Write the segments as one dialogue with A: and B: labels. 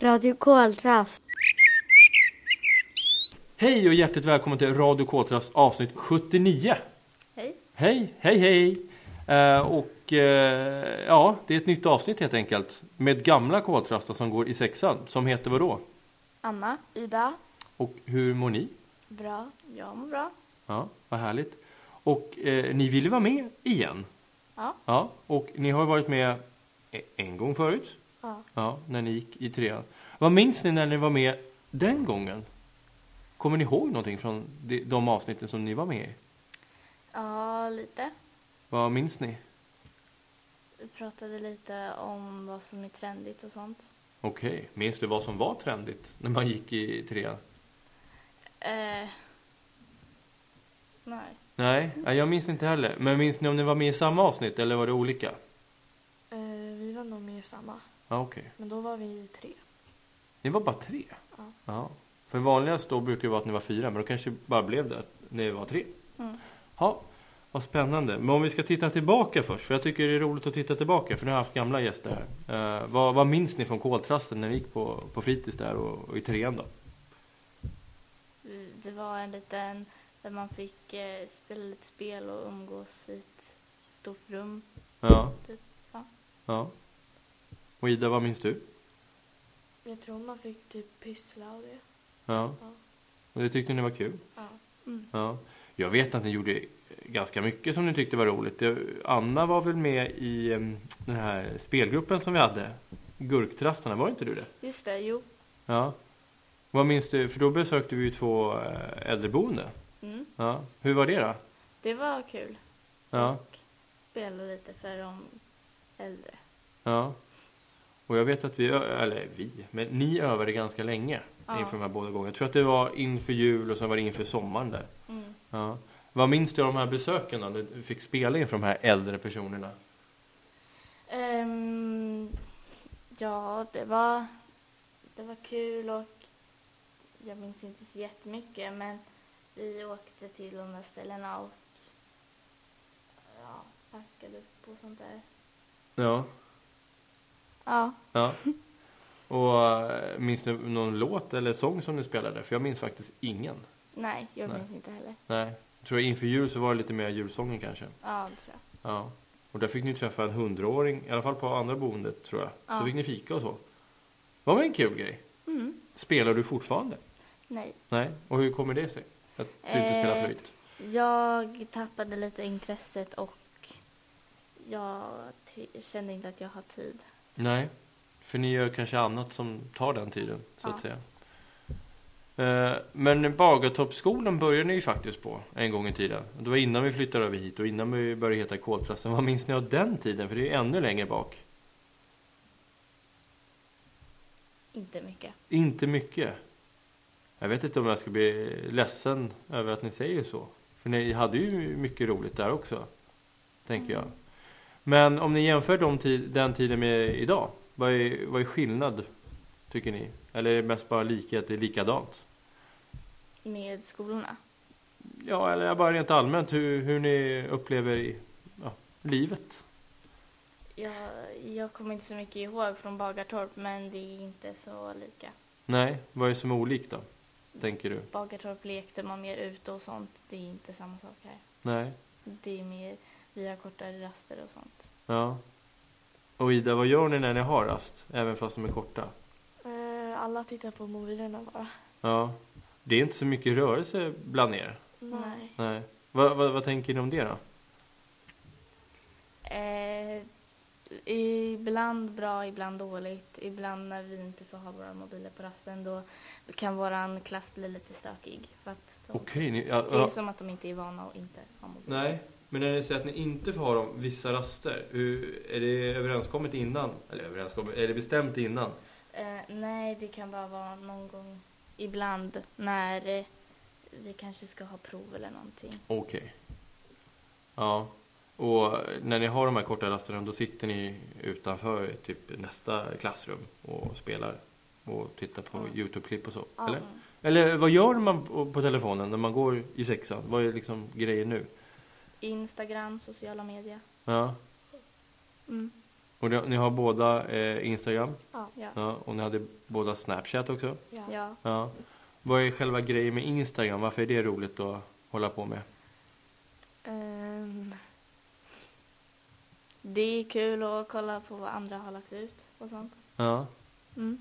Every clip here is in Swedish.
A: Radio Koltrast.
B: Hej och hjärtligt välkommen till Radio Kåtras avsnitt 79.
A: Hej.
B: Hej, hej, hej. Eh, och eh, ja, det är ett nytt avsnitt helt enkelt. Med gamla koltrastar som går i sexan. Som heter vadå?
A: Anna. Ida.
B: Och hur mår ni?
A: Bra. Jag mår bra.
B: Ja, vad härligt. Och eh, ni ville vara med igen.
A: Ja.
B: Ja, och ni har ju varit med e- en gång förut.
A: Ja.
B: Ja, när ni gick i trean. Vad minns ni när ni var med den gången? Kommer ni ihåg någonting från de, de avsnitten som ni var med i?
A: Ja, lite.
B: Vad minns ni?
A: Vi pratade lite om vad som är trendigt och sånt.
B: Okej, minns du vad som var trendigt när man gick i trean?
A: Eh. Nej.
B: Nej, nej, jag minns inte heller. Men minns ni om ni var med i samma avsnitt eller var det olika?
C: Eh, vi var nog med i samma,
B: Ja, okej.
C: men då var vi tre.
B: Ni var bara tre?
C: Ja.
B: För vanligast då brukar det vara att ni var fyra, men då kanske bara blev det att ni var tre?
A: Mm.
B: Ja, vad spännande. Men om vi ska titta tillbaka först, för jag tycker det är roligt att titta tillbaka, för ni har haft gamla gäster här. Eh, vad, vad minns ni från koltrasten när ni gick på, på fritids där och, och i trean då?
A: Vi- Det var en liten där man fick eh, spela lite spel och umgås i ett stort rum.
B: Ja.
A: Typ, ja.
B: ja. Och Ida, vad minns du?
C: Jag tror man fick typ pyssla och det.
B: Ja.
C: Ja.
B: Och det tyckte ni var kul?
C: Ja.
A: Mm.
B: Ja. Jag vet att ni gjorde ganska mycket som ni tyckte var roligt. Det- Anna var väl med i em, den här spelgruppen som vi hade? Gurktrastarna, var inte du det?
A: Just det, jo.
B: Ja. Vad minns du? För då besökte vi ju två eh, äldreboende.
A: Mm.
B: Ja. Hur var det då?
A: Det var kul.
B: Ja.
A: Och spela lite för de äldre.
B: ja. Och jag vet att vi, ö- eller vi, men ni övade ganska länge
A: Ja.
B: inför de här båda gångerna. Jag tror att det var inför jul och sen var det inför sommaren där.
A: Mm.
B: Ja. Vad minns du av de här besöken då? Du fick spela inför de här äldre personerna?
A: Ehm, ja, det var, det var kul och jag minns inte så jättemycket men vi åkte till de där ställena och ja, packade upp och sånt där.
B: Ja.
A: Ja.
B: Ja. Och eh, minns du någon låt eller sång som ni spelade? För jag minns faktiskt ingen.
A: Nej, jag
B: Nej.
A: minns inte heller.
B: Nej. Jag tror inför jul så var det lite mer julsången kanske.
A: Ja, det tror jag.
B: Ja. Och där fick ni träffa en hundraåring, i alla fall på andra boendet tror jag.
A: Ja.
B: Så fick ni fika och så. Det var väl en kul grej?
A: Mm.
B: Spelar du fortfarande?
A: Nej.
B: Nej. Och hur kommer det sig? Att du inte spelar
A: Eh.
B: flöjt?
A: Jag tappade lite intresset och jag t- kände inte att jag har tid.
B: Nej. För ni gör kanske annat som tar den tiden, så
A: Ja.
B: att säga. Eh, Men Bagartoppsskolan började ni ju faktiskt på en gång i tiden. Det var innan vi flyttade över hit och innan vi började heta Koltrasten. Vad minns ni av den tiden? För det är ju ännu längre bak.
A: Inte mycket.
B: Inte mycket. Jag vet inte om jag ska bli ledsen över att ni säger så. För ni hade ju mycket roligt där också. Tänker jag. Men om ni jämför de tid, den tiden med idag. Vad är, vad är skillnad? Tycker ni? Eller är det mest bara likhet? Det är likadant?
A: Med skolorna.
B: Ja, eller bara rent allmänt hur, hur ni upplever i, ja, livet.
A: Jag, jag kommer inte så mycket ihåg från Bagartorp, men det är inte så lika.
B: Nej, vad är som är olikt då? Tänker du?
A: Bagartorp lekte man mer ute och sånt. Det är inte samma sak här.
B: Nej.
A: Det är mer, vi har kortare raster och sånt.
B: Ja. Och Ida, vad gör ni när ni har rast? Även fast de är korta?
C: Eh, alla tittar på mobilerna bara.
B: Ja, det är inte så mycket rörelse bland er.
A: Nej.
B: Nej. Vad, vad, vad tänker ni om det då?
A: Eh, ibland bra, ibland dåligt. Ibland när vi inte får ha våra mobiler på rasten, då kan våran klass bli lite stökig. För att de,
B: Okej, ni, ja,
A: Det är
B: ja,
A: som att de inte är vana att inte ha mobiler.
B: nej. Men när ni säger att ni inte får ha dem vissa raster, hur, är det överenskommet innan? Eller överenskommet, är det bestämt innan?
A: Eh, nej, det kan bara vara någon gång ibland när eh, vi kanske ska ha prov eller någonting.
B: Okej. Ja. Och när ni har de här korta rasterna, då sitter ni utanför typ nästa klassrum och spelar och tittar på
C: Ja.
B: Youtube-klipp och så?
C: Ja.
B: Eller? Eller vad gör man på på telefonen när man går i sexan? Vad är liksom grejen nu?
A: Instagram, sociala medier.
B: Ja.
A: Mm.
B: Och det, ni har båda eh, Instagram?
C: Ja. Ja.
B: Ja, och ni hade båda Snapchat också.
C: Ja.
A: Ja.
B: Ja. Vad är själva grejen med Instagram? Varför är det roligt att hålla på med?
A: Ehm, det är kul att kolla på vad andra har lagt ut och sånt.
B: Ja.
A: Mm.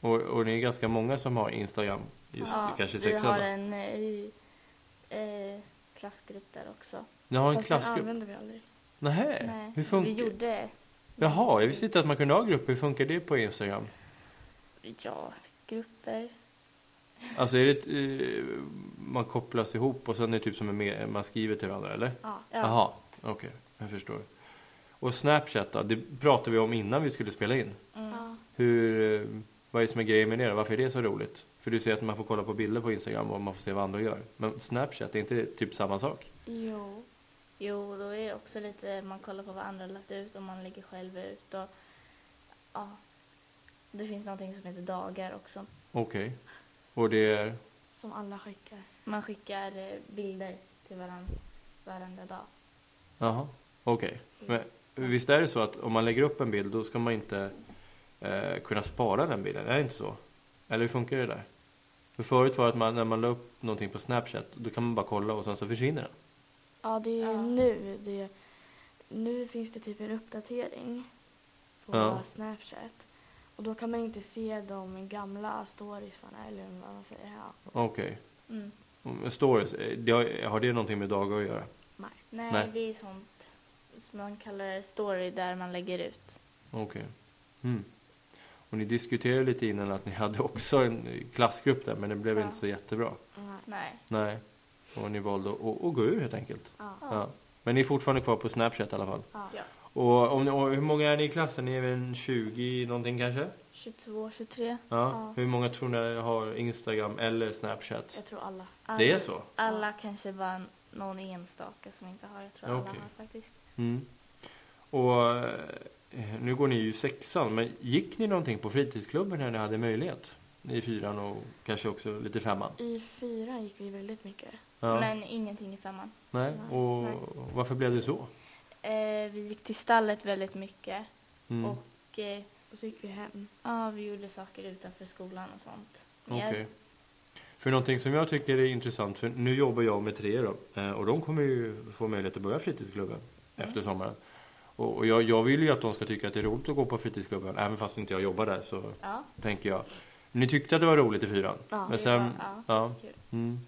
B: Och, och det är ganska många som har Instagram. Just,
A: ja,
B: kanske
A: vi
B: sexan
A: har
B: då.
A: en eh, i, eh, klassgrupp där också.
B: Ni har en
C: Fast den
B: klassgrupp?
C: använder vi aldrig.
B: Nähä,
A: Nej,
B: Eh, hur funkar
A: Vi gjorde,
B: Jaha, jag visste inte att man kunde ha grupper. Hur funkar det på Instagram?
A: ja, grupper.
B: Alltså är det, ett, eh, man kopplas ihop och sen är det typ som en me- man skriver till varandra eller?
C: Ja.
A: Ja.
B: Jaha, okej, jag förstår. Och Snapchat då? Det pratade vi om innan vi skulle spela in.
A: Mm.
C: Ja.
B: Hur, eh, vad är det som är grejen med det då? Varför är det så roligt? För du säger att man får kolla på bilder på Instagram och man får se vad andra gör. Men Snapchat, är inte det typ samma sak?
C: Jo.
A: Jo, då är det också lite, man kollar på vad andra har lagt ut och man lägger själv ut och ja. Det finns någonting som heter dagar också.
B: Okej. Och det är,
C: Som alla skickar.
A: Man skickar eh, bilder till varandra varenda dag.
B: jaha, okej. Men visst är det så att om man lägger upp en bild då ska man inte eh, kunna spara den bilden? Är det inte så? Eller hur funkar det där? För förut var det att man, när man la upp någonting på Snapchat då kan man bara kolla och sen så försvinner den.
C: Ja, det är ju
A: Ja.
C: nu det... Nu finns det typ en uppdatering på
B: Ja.
C: Snapchat. Och då kan man inte se de gamla storiesarna eller vad man säger. Ja.
B: Okej.
A: Mm.
B: Okay. Stories, eh, det har, har det någonting med dagar att göra?
C: Nej.
A: Nej,
B: Nej.
A: det är sånt som man kallar story där man lägger ut.
B: Okej. Mm. Och ni diskuterade lite innan att ni hade också en klassgrupp där men det blev
A: Ja.
B: inte så jättebra.
C: Nej.
A: Nej.
B: Nej. Och ni valde att, att gå ur helt enkelt.
C: Ja.
A: Ja.
B: Ja. Men ni är fortfarande kvar på Snapchat i alla fall?
C: Ja.
A: Ja.
B: Och, om ni, och hur många är ni i klassen? Ni är väl en 20 någonting kanske?
A: 22, 23.
B: Ja.
C: Ja.
B: Hur många tror ni har Instagram eller Snapchat?
C: Jag tror alla.
A: Alla,
B: Det är så?
A: Alla kanske bara någon enstaka som inte har. Jag tror
B: Ja,
A: alla
B: okej.
A: har faktiskt.
B: Mm. Och eh, nu går ni ju i sexan, men gick ni någonting på fritidsklubben när ni hade möjlighet? I fyran och kanske också lite femman?
C: I fyran gick vi väldigt mycket.
B: Ja.
A: Men ingenting i femman.
B: Nej.
C: Nej.
B: Och
A: Nej.
B: varför blev det så?
A: Eh, vi gick till stallet väldigt mycket
B: Mm.
A: och eh,
C: Och så gick vi hem.
A: Ja, vi gjorde saker utanför skolan och sånt.
B: Okej.
A: Mer.
B: För någonting som jag tycker är intressant, för nu jobbar jag med tre då, eh, och de kommer ju få möjlighet att börja fritidsklubben
A: Mm.
B: efter sommaren. Och, och jag, jag vill ju att de ska tycka att det är roligt att gå på fritidsklubben, även fast inte jag jobbar där så
A: Ja,
B: tänker jag. Ni tyckte att det var roligt i fyran?
C: Ja.
B: men
A: det
B: sen,
A: var-
B: ja.
A: ja. kul.
B: mm.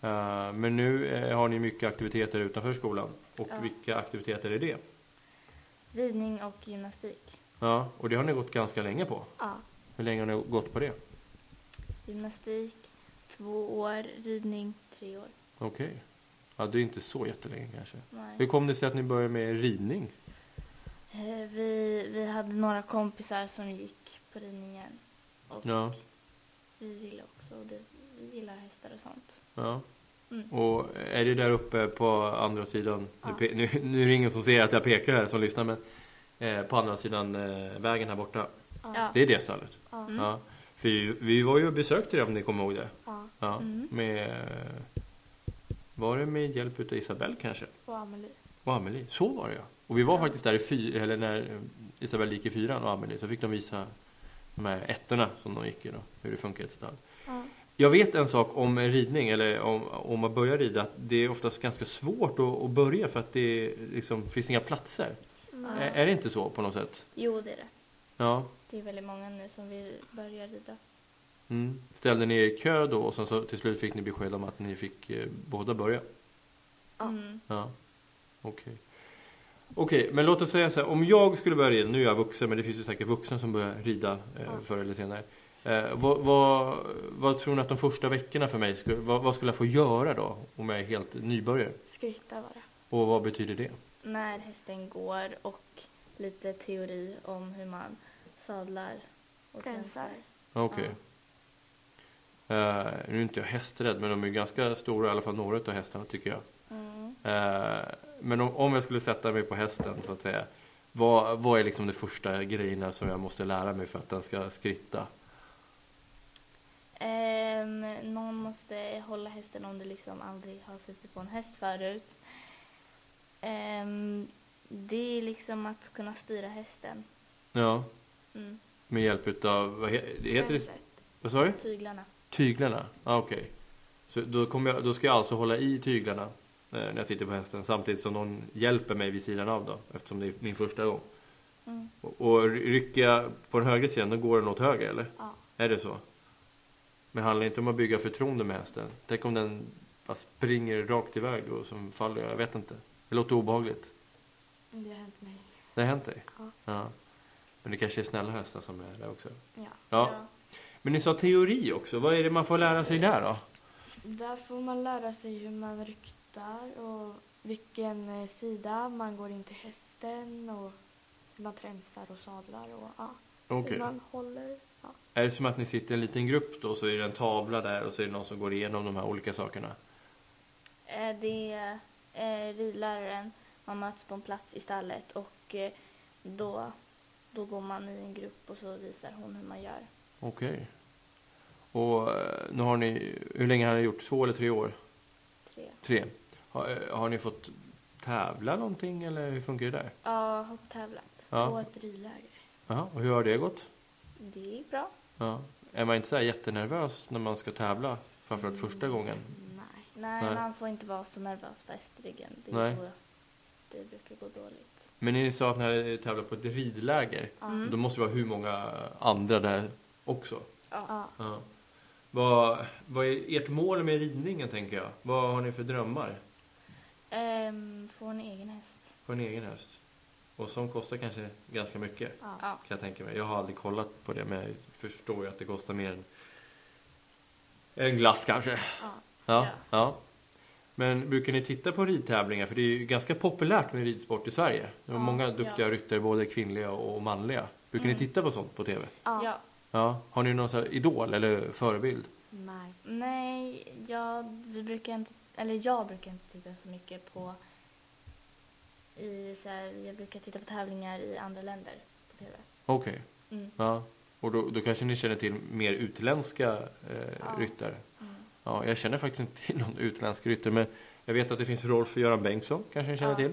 B: Eh, men nu eh, har ni mycket aktiviteter utanför skolan. Och
A: Ja.
B: vilka aktiviteter är det?
A: Ridning och gymnastik.
B: Ja, och det har ni gått ganska länge på.
C: Ja.
B: Hur länge har ni gått på det?
A: Gymnastik, två år. Ridning, tre år.
B: Okej. Ja, det är inte så jättelänge kanske. Hur
A: Nej.
B: kom det sig att ni började med ridning?
A: Eh, Vi, vi hade några kompisar som gick på ridningen. Och
B: Ja.
A: vi ville också, och det, vi gillar hästar och sånt.
B: ja.
A: Mm.
B: Och är det där uppe på andra sidan,
C: Ja.
B: nu, pe- nu, nu är det ingen som ser att jag pekar här som lyssnar men eh, på andra sidan eh, vägen här borta.
A: Ja.
B: Det är det stallet.
C: Ja.
A: Mm.
B: Ja. För vi, vi var ju och besökte det om ni kommer ihåg det.
C: Ja.
B: Ja.
A: Mm.
B: Med, eh, var det med hjälp utav Isabelle kanske?
C: Och Amelie.
B: Och Amelie, så var det ja. Och vi var faktiskt där i fy, eller när eh, Isabelle gick i fyran och Amelie så fick de visa de här ettorna som de gick i då, hur det funkar i ett stall.
C: Ja.
B: Jag vet en sak om ridning, eller om, om att börja rida, att det är oftast ganska svårt att, att börja för att det är, liksom, finns inga platser.
A: Ja.
B: Är, är det inte så på något sätt?
A: Jo, det är det.
B: Ja.
A: Det är väldigt många nu som vill börja rida.
B: Mm. Ställde ni er i kö då och sen så till slut fick ni besked om att ni fick eh, båda börja?
C: Ja.
A: Mm.
B: Ja. Okej. Okej, men låt oss säga så här, om jag skulle börja rida, nu är jag vuxen men det finns ju säkert vuxna som börjar rida eh,
C: Ja.
B: förr eller senare. Eh, vad, vad, vad tror ni att de första veckorna för mig, skulle, vad, vad skulle jag få göra då om jag är helt nybörjare?
C: Skritta var det.
B: Och vad betyder det?
A: När hästen går och lite teori om hur man sadlar och
C: Gränsar.
A: gränsar.
B: Okej. Eh, nu är inte jag hästrädd, men de är ju ganska stora, i alla fall några av hästarna tycker jag.
A: Mm.
B: Eh, men om, om jag skulle sätta mig på hästen så att säga. Vad, vad är liksom de första grejerna som jag måste lära mig för att den ska skritta?
A: Ehm, någon måste hålla hästen om du liksom aldrig har suttit på en häst förut. Ehm, det är liksom att kunna styra hästen.
B: Ja,
A: Mm.
B: Med hjälp utav, vad he, det heter det?
A: Rensar
B: Vad sa du?
A: Tyglarna.
B: Tyglarna? Ah, Okej. Så då, kommer jag, då ska jag alltså hålla i tyglarna eh, när jag sitter på hästen samtidigt som någon hjälper mig vid sidan av då eftersom det är min första gång.
A: Mm.
B: Och, och rycker jag på den högra sidan då går den åt höger eller?
C: Ja.
B: Är det så? Men handlar det inte om att bygga förtroende med hästen? Tänk om den bara springer rakt iväg och som faller jag, jag vet inte. Det låter obehagligt.
C: Det har hänt mig.
B: Det har hänt dig?
C: Ja.
B: Men det kanske är snälla hästar som är där också?
C: Ja.
B: Ja. Men ni sa teori också, vad är det man får lära sig där då?
C: Där får man lära sig hur man ryktar och vilken eh, sida man går in till hästen och hur man tränsar och sadlar och ja,
B: Okej.
C: hur man håller. Ja.
B: Är det som att ni sitter i en liten grupp då, så är det en tavla där och så är det någon som går igenom de här olika sakerna?
A: Eh, Det är eh, ridläraren. Man möts på en plats i stallet och eh, då, då går man i en grupp och så visar hon hur man gör.
B: Okej. Och eh, nu har ni, hur länge har ni gjort? Två eller tre år?
A: Tre.
B: Tre. Har, eh, har ni fått tävla någonting eller hur funkar det där?
A: Ja, har tävlat
B: Ja.
A: på ett ridläger.
B: Jaha, och hur har det gått?
A: Det gick bra.
B: Ja. Är man inte så här jättenervös när man ska tävla? Framförallt första gången?
C: Nej.
A: Nej,
B: Nej.
A: man får inte vara så nervös på hästryggen. Det,
B: Nej.
A: går, det brukar gå dåligt.
B: Men ni sa att ni hade tävlat på ett ridläger.
A: Mm.
B: Då måste det vara hur många andra där också?
C: Ja.
B: Ja. Vad, vad är ert mål med ridningen tänker jag? Vad har ni för drömmar
A: Ehm, få en egen häst.
B: på en egen häst? Och som kostar kanske ganska mycket
C: Ja.
A: Ja.
B: kan jag tänka mig. Jag har aldrig kollat på det men jag förstår ju att det kostar mer än en glass kanske.
C: Ja.
B: Ja,
A: Ja.
B: ja. Men brukar ni titta på ridtävlingar? För det är ju ganska populärt med ridsport i Sverige. Det är
C: Ja,
B: många duktiga
A: ja.
B: ryttare, både kvinnliga och manliga. Brukar
A: Mm.
B: ni titta på sånt på TV?
C: Ja.
A: Ja.
B: Ja. Har ni någon sån här idol eller förebild?
C: Nej.
A: Nej, jag, vi brukar inte, eller jag brukar inte titta så mycket på... I, så här, jag brukar titta på tävlingar i andra länder på TV.
B: Okej.
A: Mm.
B: Ja, och då, då kanske ni känner till mer utländska eh,
C: Ja.
B: ryttare?
A: Mm.
B: Ja, jag känner faktiskt inte till någon utländsk ryttare, men jag vet att det finns Rolf-Göran Bengtsson, kanske ni känner
A: Ja.
B: till?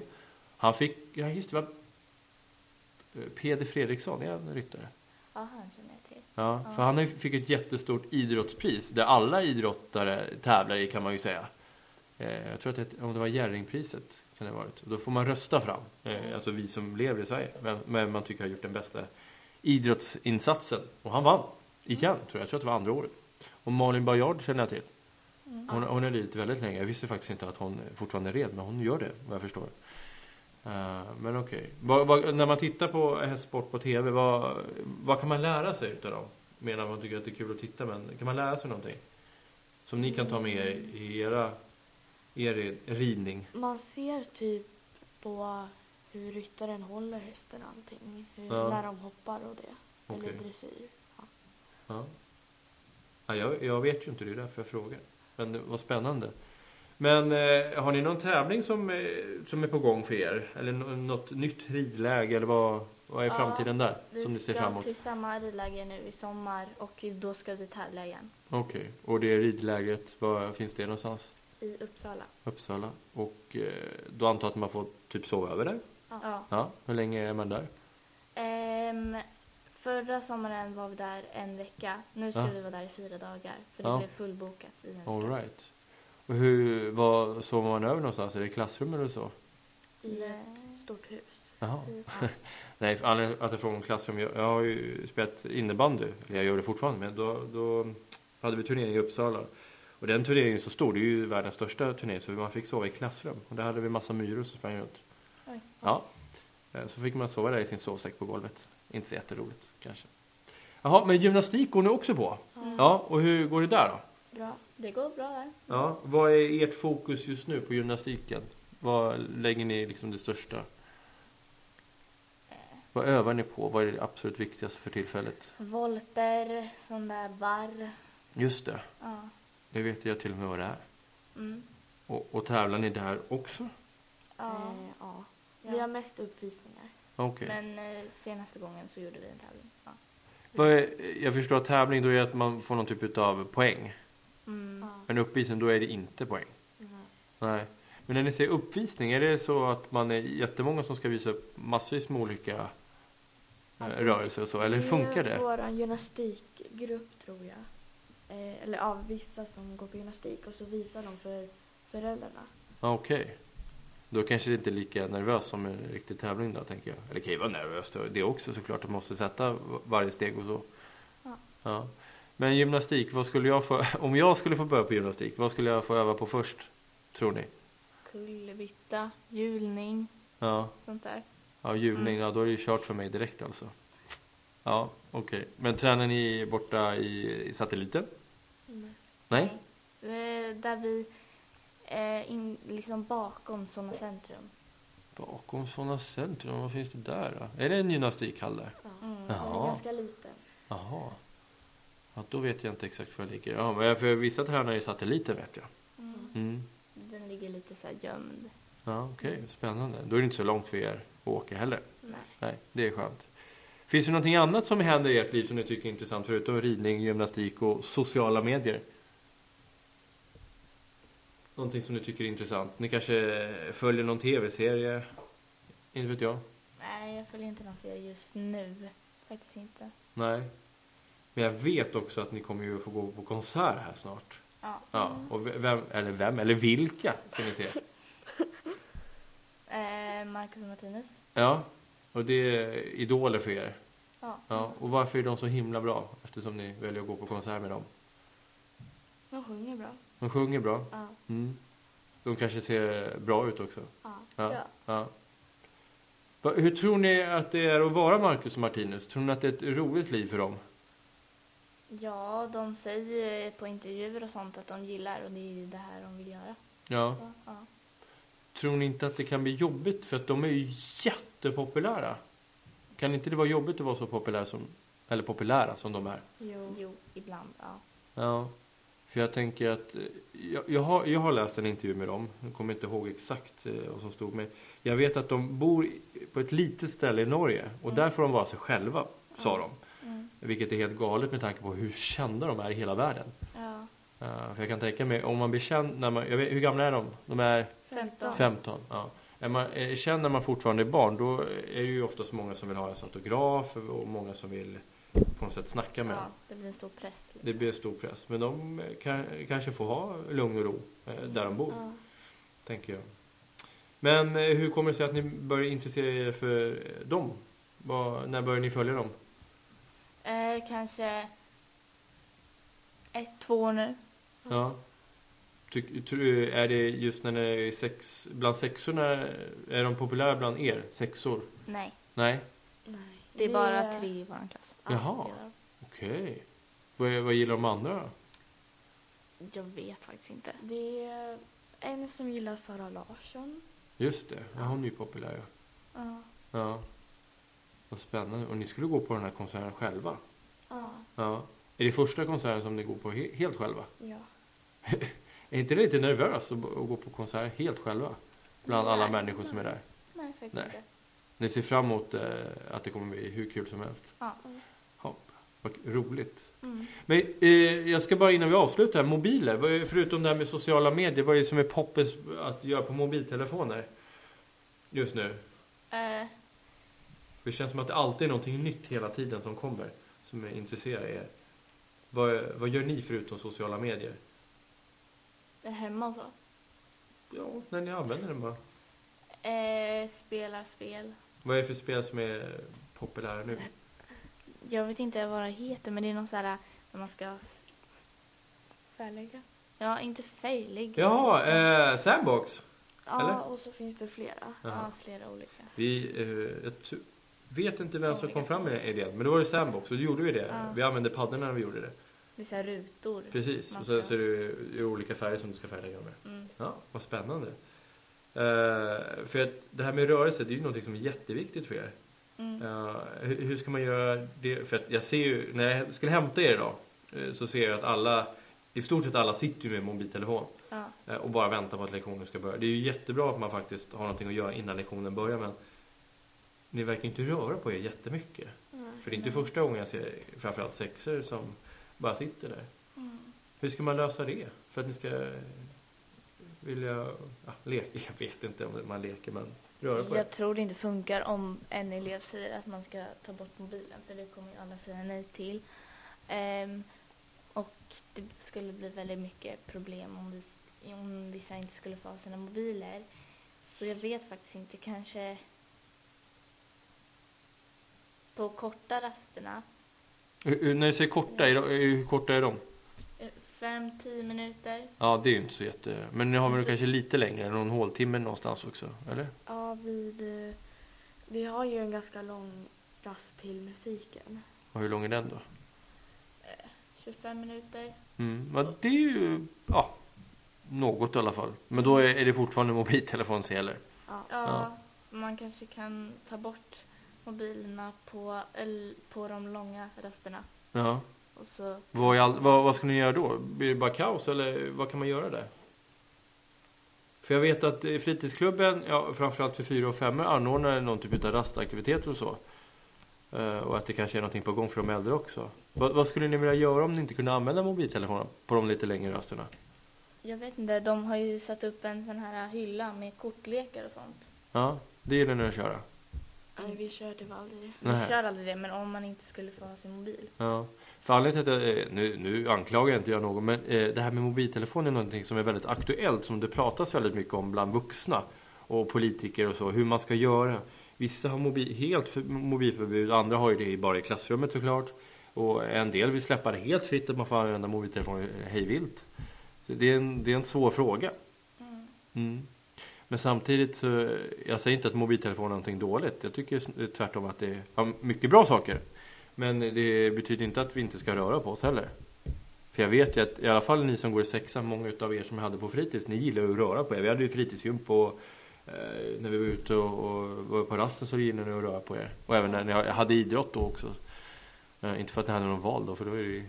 B: Han fick, ja just det, var eh, Peder Fredriksson, är han ryttare?
A: Ja, han känner jag till.
B: Ja,
A: Ja.
B: för han har ju- fick ett jättestort idrottspris där alla idrottare tävlar i kan man ju säga. Eh, Jag tror att det, om det var Jerringpriset kan det ha varit. Och Då får man rösta fram, eh, alltså vi som lever i Sverige, men, men man tycker har gjort den bästa idrottsinsatsen. Och han vann, igen tror jag, jag tror att det var andra året. Och Malin Baryard känner jag till. Hon, hon har lidit väldigt länge. Jag visste faktiskt inte att hon fortfarande red, men hon gör det vad jag förstår. Eh, men okej. Vad- vad- När man tittar på hästsport på TV, vad, vad kan man lära sig utav dem? Medan man tycker att det är kul att titta, men kan man lära sig någonting? Som ni kan ta med er i era, er rid- ridning?
C: Man ser typ på hur ryttaren håller hästen och allting. Hur,
B: Ja.
C: När de hoppar och det.
B: Okej.
C: Eller dressyr. Ja.
B: Ja. Ja, jag, jag vet ju inte, det är därför jag frågar. Men det var spännande. Men eh, har ni någon tävling som, eh, som är på gång för er? Eller nå- något nytt ridläge? Eller vad, vad är
A: Ja,
B: framtiden där?
A: Vi
B: Som ni ser
A: ska
B: fram emot?
A: till samma ridläger nu i sommar och då ska vi tävla igen
B: Okej, och det ridlägret, var finns det någonstans?
A: i Uppsala.
B: Uppsala. Och eh, då antar jag att man får typ sova över där?
A: Ja.
B: Ja, hur länge är man där?
A: Ehm, förra sommaren var vi där en vecka. Nu ska
B: Ja.
A: vi vara där i fyra dagar för det
B: Ja.
A: blev fullbokat i en vecka.
B: All right. Och hur, var sover man över någonstans? Är det klassrum eller så?
C: I
A: Nej.
C: ett stort hus.
B: Jaha.
C: Ja.
B: Nej, för anledningen till att jag frågar om klassrum. Jag, jag har ju spelat innebandy, eller jag gör det fortfarande, men då, då hade vi turnering i Uppsala. Och den turneringen är så stor, det är ju världens största turnering, så man fick sova i klassrum. Och där hade vi massa myror som sprang runt.
A: Oj.
B: Ja. Eh, Så fick man sova där i sin sovsäck på golvet. Inte så jätteroligt kanske. Jaha, men gymnastik går ni också på?
A: Mm.
B: Ja, och hur går det där då?
C: Bra.
A: Det går bra där.
B: Ja, vad är ert fokus just nu på gymnastiken? Vad lägger ni liksom det största? Vad övar ni på? Vad är det absolut viktigaste för tillfället?
A: Volter, sån där barr.
B: Just det,
A: Ja.
B: det vet jag till och med vad det är.
A: Mm.
B: Och, och tävlar ni där också?
A: Ja.
C: Eh, ja.
A: Ja.
C: Vi har mest uppvisningar.
B: Okej.
A: Men eh, senaste gången så gjorde vi en tävling. Ja.
B: Vad är- Jag förstår att tävling då är att man får någon typ av poäng.
A: Mm.
B: Men uppvisning då är det inte poäng.
C: Nej.
B: Nej. Men när ni säger uppvisning, är det så att man är jättemånga som ska visa upp massvis med olika
C: Alltså,
B: eh, rörelser och så? Eller hur funkar det?
C: Vår gymnastikgrupp tror jag. Eh, eller av vissa som går på gymnastik och så visar de för föräldrarna.
B: Ja, Ah, Okej. Då kanske det inte är lika nervöst som en riktig tävling då, tänker jag. Eller det kan ju vara nervöst då, det också såklart. Att man måste sätta varje steg och så.
C: Ja.
B: Ja. Men gymnastik, vad skulle jag få, om jag skulle få börja på gymnastik, vad skulle jag få öva på först? Tror ni?
A: Kullerbytta, hjulning,
B: Ja,
A: sånt där.
B: ja hjulning,
A: Mm.
B: ja då är det ju kört för mig direkt alltså. Ja, okej. Men tränar ni borta i, i satelliten? Nej?
A: Eh, Där vi, eh, in, liksom bakom sådana centrum.
B: Bakom sådana centrum, vad finns det där då? Är det en gymnastikhall där?
C: Ja.
A: Mm.
B: Ja.
C: Den är ganska liten.
B: Jaha. Ja, då vet jag inte exakt var jag ligger. Ja, men för vissa tränare i satelliten vet jag.
A: Mm.
B: Mm.
A: Den ligger lite så här gömd.
B: Ja, okej. Spännande. Då är det inte så långt för er att åka heller.
A: Nej.
B: Nej, det är skönt. Finns det någonting annat som händer i ert liv som ni tycker är intressant förutom ridning, gymnastik och sociala medier? Någonting som ni tycker är intressant? Ni kanske följer någon tv-serie? Inte vet jag.
A: Nej, jag följer inte någon serie just nu. Faktiskt inte.
B: Nej. Men jag vet också att ni kommer ju få gå på konsert här snart.
A: Ja.
B: Ja, och ve- vem, eller vem, eller vilka ska ni se?
A: Eh, Marcus och Martinus.
B: Ja, och det är idoler för er.
A: Ja.
B: Ja, och varför är de så himla bra? Eftersom ni väljer att gå på konsert med dem.
C: De sjunger bra.
B: De sjunger bra.
C: Ja.
B: Mm. De kanske ser bra ut också.
C: ja.
B: Ja.
A: Ja.
B: ja. Va- Hur tror ni att det är att vara Marcus och Martinus? Tror ni att det är ett roligt liv för dem?
A: Ja, de säger ju på intervjuer och sånt att de gillar och det är ju det här de vill göra.
B: Ja.
A: Så, ja.
B: Tror ni inte att det kan bli jobbigt? För att de är ju jättepopulära. Kan inte det vara jobbigt att vara så populär som, eller populära som de är?
C: Jo.
A: Jo, ibland. Ja.
B: Ja, för jag tänker att eh, jag, jag, har, jag har läst en intervju med dem. Jag kommer inte ihåg exakt eh, vad som stod. Men jag vet att de bor i- på ett litet ställe i Norge. Och där får de vara sig själva, sa de.
A: Mm.
B: Vilket är helt galet med tanke på hur kända de är i hela världen.
A: ja.
B: Eh, för jag kan tänka mig, om man blir känd när man, jag vet, hur gamla är de? De är
A: Femton.
B: 15. Ja. Är man är känd när man fortfarande är barn, då är det ju oftast många som vill ha en autograf och många som vill på något sätt snacka med en.
A: ja, det blir en stor press. Liksom.
B: Det blir stor press. Men de eh, kan, kanske får ha lugn och ro eh, där de bor,
C: Ja.
B: tänker jag. Men eh, hur kommer det sig att ni börjar intressera er för eh, dem? Vad- när börjar ni följa dem?
A: Eh, kanske ett, två år nu.
B: Ja. Ty, tr- eh, är det just när ni är sex, bland sexorna, är de populära bland er? Sexor?
A: Nej,
B: Nej?
C: Nej.
A: det är
C: Vi
A: bara tre i vår klass.
C: Ja,
B: Jaha.
A: det är de.
B: Okej. Vad, vad gillar de andra då?
A: Jag vet faktiskt inte.
C: Det är en som gillar Sara Larsson.
B: Just det, ja, hon är ju populär ja.
A: Ja.
B: ja. Vad spännande. Och ni skulle gå på den här konserten själva?
C: Ja.
B: Ja. Är det första konserten som ni går på he- helt själva?
C: Ja.
B: Är inte det lite nervöst att b- att gå på konsert helt själva? Bland alla
A: Nej.
B: människor som är där.
A: Nej, faktiskt
B: Nej.
A: inte.
B: Ni ser fram emot eh, att det kommer bli hur kul som helst.
A: Ja.
B: Ja, vad roligt.
A: Mm.
B: Men eh, jag ska bara innan vi avslutar, mobiler. Vad är- Förutom det här med sociala medier, vad är det som är poppis att göra på mobiltelefoner? Just nu.
A: Eh,
B: Det känns som att det alltid är någonting nytt hela tiden som kommer. Som intresserar er. Vad, vad gör ni förutom sociala medier?
A: är hemma och så.
B: Ja, när ni använder den bara.
A: Eh, spelar spel.
B: Vad är det för spel som är populära nu?
A: Jag vet inte vad det heter, men det är någon sån här när man ska...
C: Färliga.
A: Ja, inte fejlig.
B: Jaha, eh, Sandbox.
C: Ja,
B: Eller?
C: och så finns det flera.
A: Ja,
B: Jaha.
A: flera olika.
B: Vi, eh, jag t- vet inte vem som kom fram med den idén, men då var det Sandbox och då gjorde vi det.
A: Ja.
B: Vi använde paddorna när vi gjorde det.
A: Det är så här rutor.
B: Precis,
A: Man
B: och sen
A: ska-
B: så är det ju- ju olika färger som du ska färga med.
A: Mm.
B: Ja, vad spännande. Eh, för att det här med rörelse, det är ju någonting som är jätteviktigt för er.
A: Mm.
B: Eh, hur, hur ska man göra det? För att jag ser ju, när jag skulle hämta er idag, eh, så ser jag att alla, i stort sett alla sitter ju med mobiltelefon.
A: Ja.
B: Eh, och bara vänta på att lektionen ska börja. Det är ju jättebra att man faktiskt har någonting att göra innan lektionen börjar men ni verkar inte röra på er jättemycket. För det är inte första gången jag ser framförallt sexer som bara sitter där.
A: Mm.
B: Hur ska man lösa det? För att ni ska eh, vilja ja, leka? Jag vet inte om man leker men röra på er?
A: Jag tror det inte funkar om en elev säger att man ska ta bort mobilen för det kommer ju alla säga nej till. Ehm, och det skulle bli väldigt mycket problem om, vi, om vissa inte skulle få ha sina mobiler. Så jag vet faktiskt inte, kanske på korta rasterna,
B: Hur- hur- När du säger korta, är de, hur korta är de?
A: eh, fem, tio minuter.
B: Ja, det är ju inte så jätte... Men nu har vi det kanske lite längre, någon håltimme någonstans också, eller?
C: Ja, vid, eh, vi har ju en ganska lång rast till musiken.
B: Och hur lång är den då?
A: 25 minuter.
B: Mm. Ja, det är ju... Ja, något i alla fall. Men då är är det fortfarande mobiltelefon som gäller.
C: Ja.
A: Ja, man kanske kan ta bort mobilerna på, el- på de långa rasterna.
B: Ja.
A: Och så
B: Vad, är all, vad, vad ska ni göra då? Blir det bara kaos eller vad kan man göra där? För jag vet att i fritidsklubben, ja, framförallt för fyra och femmor anordnar någon typ av rastaktiviteter och så. Eh, och att det kanske är någonting på gång för de äldre också. Vad, vad skulle ni vilja göra om ni inte kunde använda mobiltelefonerna på de lite längre rasterna?
A: Jag vet inte, de har ju satt upp en sån här hylla med kortlekar och sånt.
B: Ja, det gillar ni att köra.
C: Nej, vi kör typ aldrig.
B: Nej.
A: Vi kör aldrig det, men om man inte skulle få ha sin mobil.
B: Ja. För anledningen till att jag, eh, nu, nu anklagar jag inte jag någon, men eh, det här med mobiltelefon är någonting som är väldigt aktuellt, som det pratas väldigt mycket om bland vuxna och politiker och så, hur man ska göra. Vissa har mobi- helt för, mobilförbud, andra har ju det bara i klassrummet såklart. Och en del vill släppa det helt fritt att man får använda mobiltelefon hej vilt. Så det, är en, det är en svår fråga. Mm. Men samtidigt, så, eh, jag säger inte att mobiltelefon är någonting dåligt. Jag tycker s- eh, tvärtom att det är ja, mycket bra saker. Men det betyder inte att vi inte ska röra på oss heller. För jag vet ju att i alla fall ni som går i sexan, många utav er som jag hade på fritids, ni gillar ju att röra på er. Vi hade ju fritidsgym på eh, när vi var ute och, och var på rasten så gillade ni att röra på er. Och även när ni hade idrott då också. Eh, inte för att ni hade någon val då, för då är det ju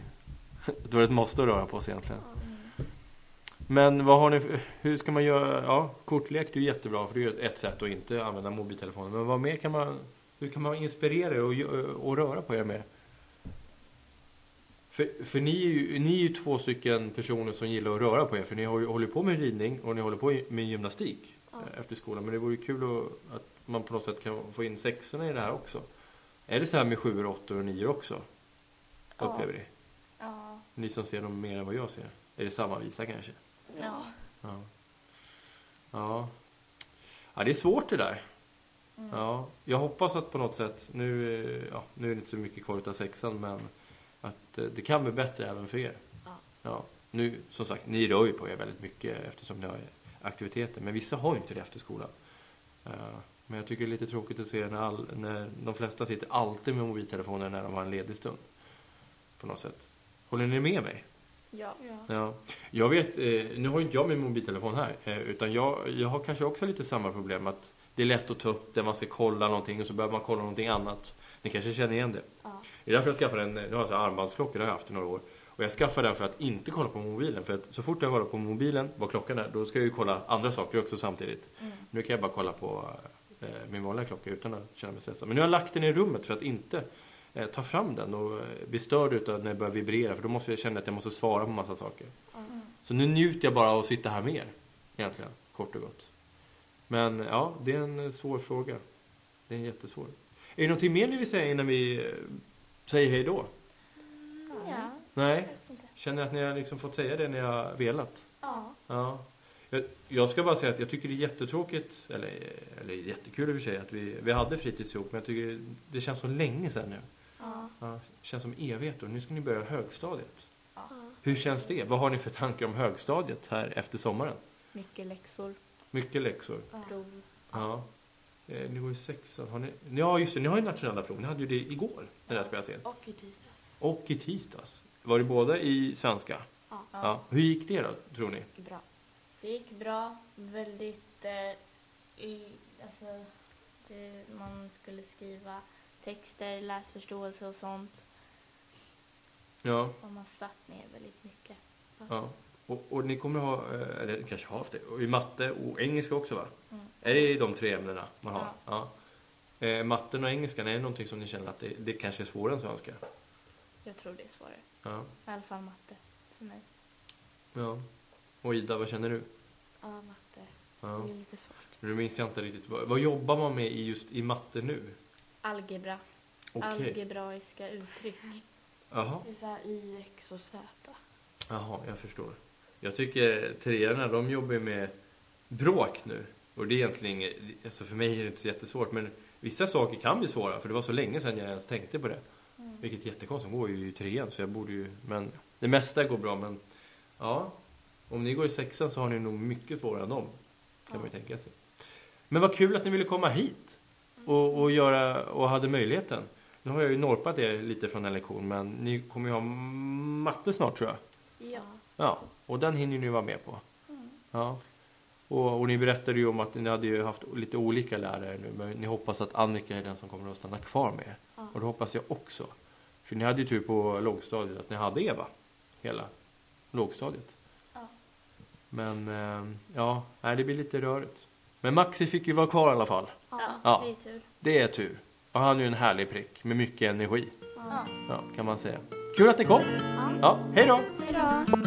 B: då är det ett måste att röra på sig egentligen. Men vad har ni, för- hur ska man göra, ja kortlek det är ju jättebra för det är ju ett sätt att inte använda mobiltelefonen. Men vad mer kan man, hur kan man inspirera er och, gö- och röra på er mer? För, för ni, är ju, ni är ju två stycken personer som gillar att röra på er för ni har ju, håller på med ridning och ni håller på med gymnastik
C: Ja.
B: eh, efter skolan. Men det vore ju kul att, att man på något sätt kan få in sexorna i det här också. Är det så här med sjuor, åttor och nior också?
A: Ja.
B: Upplever ni?
A: Ja.
B: Ni som ser dem mer än vad jag ser. Är det samma visa kanske?
A: Ja.
B: Ja. Ja. Ja, det är svårt det där. Ja, jag hoppas att på något sätt, nu, eh, ja, nu är det inte så mycket kvar utav sexan, men att eh, det kan bli bättre även för er.
C: Ja.
B: Nu, som sagt, ni rör ju på er väldigt mycket eftersom ni har aktiviteter, men vissa har ju inte det efter skolan. Eh, Men jag tycker det är lite tråkigt att se när, all, när de flesta sitter alltid med mobiltelefoner när de har en ledig stund. På något sätt. Håller ni med mig?
A: Ja.
C: Ja.
B: Ja. Jag vet, eh, nu har inte jag min mobiltelefon här, eh, utan jag, jag har kanske också lite samma problem att det är lätt att ta upp den, man ska kolla någonting och så behöver man kolla någonting annat. Ni kanske känner igen det?
C: Ja.
B: Det är därför jag skaffade en, nu har jag så här armbandsklocka, det har jag haft i några år. Och jag skaffade den för att inte kolla på mobilen, för att så fort jag kollar på mobilen, vad klockan är, då ska jag ju kolla andra saker också samtidigt. Nu kan jag bara kolla på eh, min vanliga klocka utan att känna mig stressad. Men nu har jag lagt den i rummet för att inte eh, ta fram den och eh, bli störd utav när det börjar vibrera, för då måste jag känna att jag måste svara på massa saker. Så nu njuter jag bara av att sitta här med er. Egentligen, kort och gott. Men ja, det är en eh, svår fråga. Det är en jättesvår. Är det någonting mer ni vill säga innan vi eh, säger hej då?
A: Ja.
B: Nej? Känner att ni har liksom fått säga det ni har velat?
A: Ja.
B: Ja. Jag, jag ska bara säga att jag tycker det är jättetråkigt, eller, eh, eller jättekul i och för sig, att vi, vi hade fritids ihop, men jag tycker det känns så länge sedan nu.
A: Ja.
B: Ja, det känns som evigheter. Nu ska ni börja högstadiet.
A: Ja.
B: Hur känns det? Vad har ni för tankar om högstadiet här efter sommaren?
A: Mycket läxor,
B: Mycket läxor.
A: prov.
B: Ja. Eh, Ni går i sexan. Har ni... Ja, just det. Ni har ju nationella prov. Ni hade ju det igår, när det här spelas in.
C: Och i tisdags.
B: Och i tisdags. Var det båda i svenska?
C: Ja.
B: Hur gick det då, tror ni?
C: Bra.
A: Det gick bra. Väldigt... Eh, i, alltså, det, man skulle skriva texter, läsförståelse och sånt.
B: Ja.
A: Och man satt ner väldigt mycket.
B: ja. Och, och ni kommer ha, eh, eller kanske har haft det, och i matte och engelska också va?
A: Mm.
B: Är det de tre ämnena man har?
A: Ja.
B: Ja. Eh, matten och engelskan, är det någonting som ni känner att det, det kanske är svårare än svenska?
A: Jag tror det är svårare.
B: Ja.
A: I alla fall matte för mig.
B: ja. Och Ida, vad känner du?
C: Ja, matte.
B: Ja.
C: Det är lite svårt.
B: Nu minns jag inte riktigt. Vad, vad jobbar man med i just i matte nu?
A: Algebra.
B: Okej.
A: Algebraiska uttryck.
B: Jaha.
C: Det är så här i, x och z.
B: Jaha, jag förstår. Jag tycker treorna, de jobbar ju med bråk nu. Och det är egentligen, inget- alltså för mig är det inte så jättesvårt, men vissa saker kan bli svåra, för det var så länge sedan jag ens tänkte på det.
A: Mm.
B: Vilket är jättekonstigt, de går ju i trean, så jag borde ju, men det mesta går bra, men ja. Om ni går i sexan så har ni nog mycket svårare än dem, kan man ju tänka sig. Men vad kul att ni ville komma hit och, och, göra, och hade möjligheten. Nu har jag ju norpat er lite från en lektion, men ni kommer ju ha matte snart tror jag.
A: Ja.
B: Ja, och den hinner ni vara med på.
A: Mm.
B: Ja. Och, och ni berättade ju om att ni hade ju haft lite olika lärare nu, men ni hoppas att Annika är den som kommer att stanna kvar med er.
C: Ja.
B: Och det hoppas jag också. För ni hade ju tur på lågstadiet att ni hade Eva, hela lågstadiet.
A: Ja.
B: Men eh, ja, nej, det blir lite rörigt. Men Maxi fick ju vara kvar i alla fall.
A: Ja,
B: Ja.
A: det är tur.
B: Det är tur. Och han är ju en härlig prick med mycket energi,
A: Ja.
B: ja, kan man säga. Kul att ni kom!
A: Ja.
B: Ja, hej då!
A: Hej då.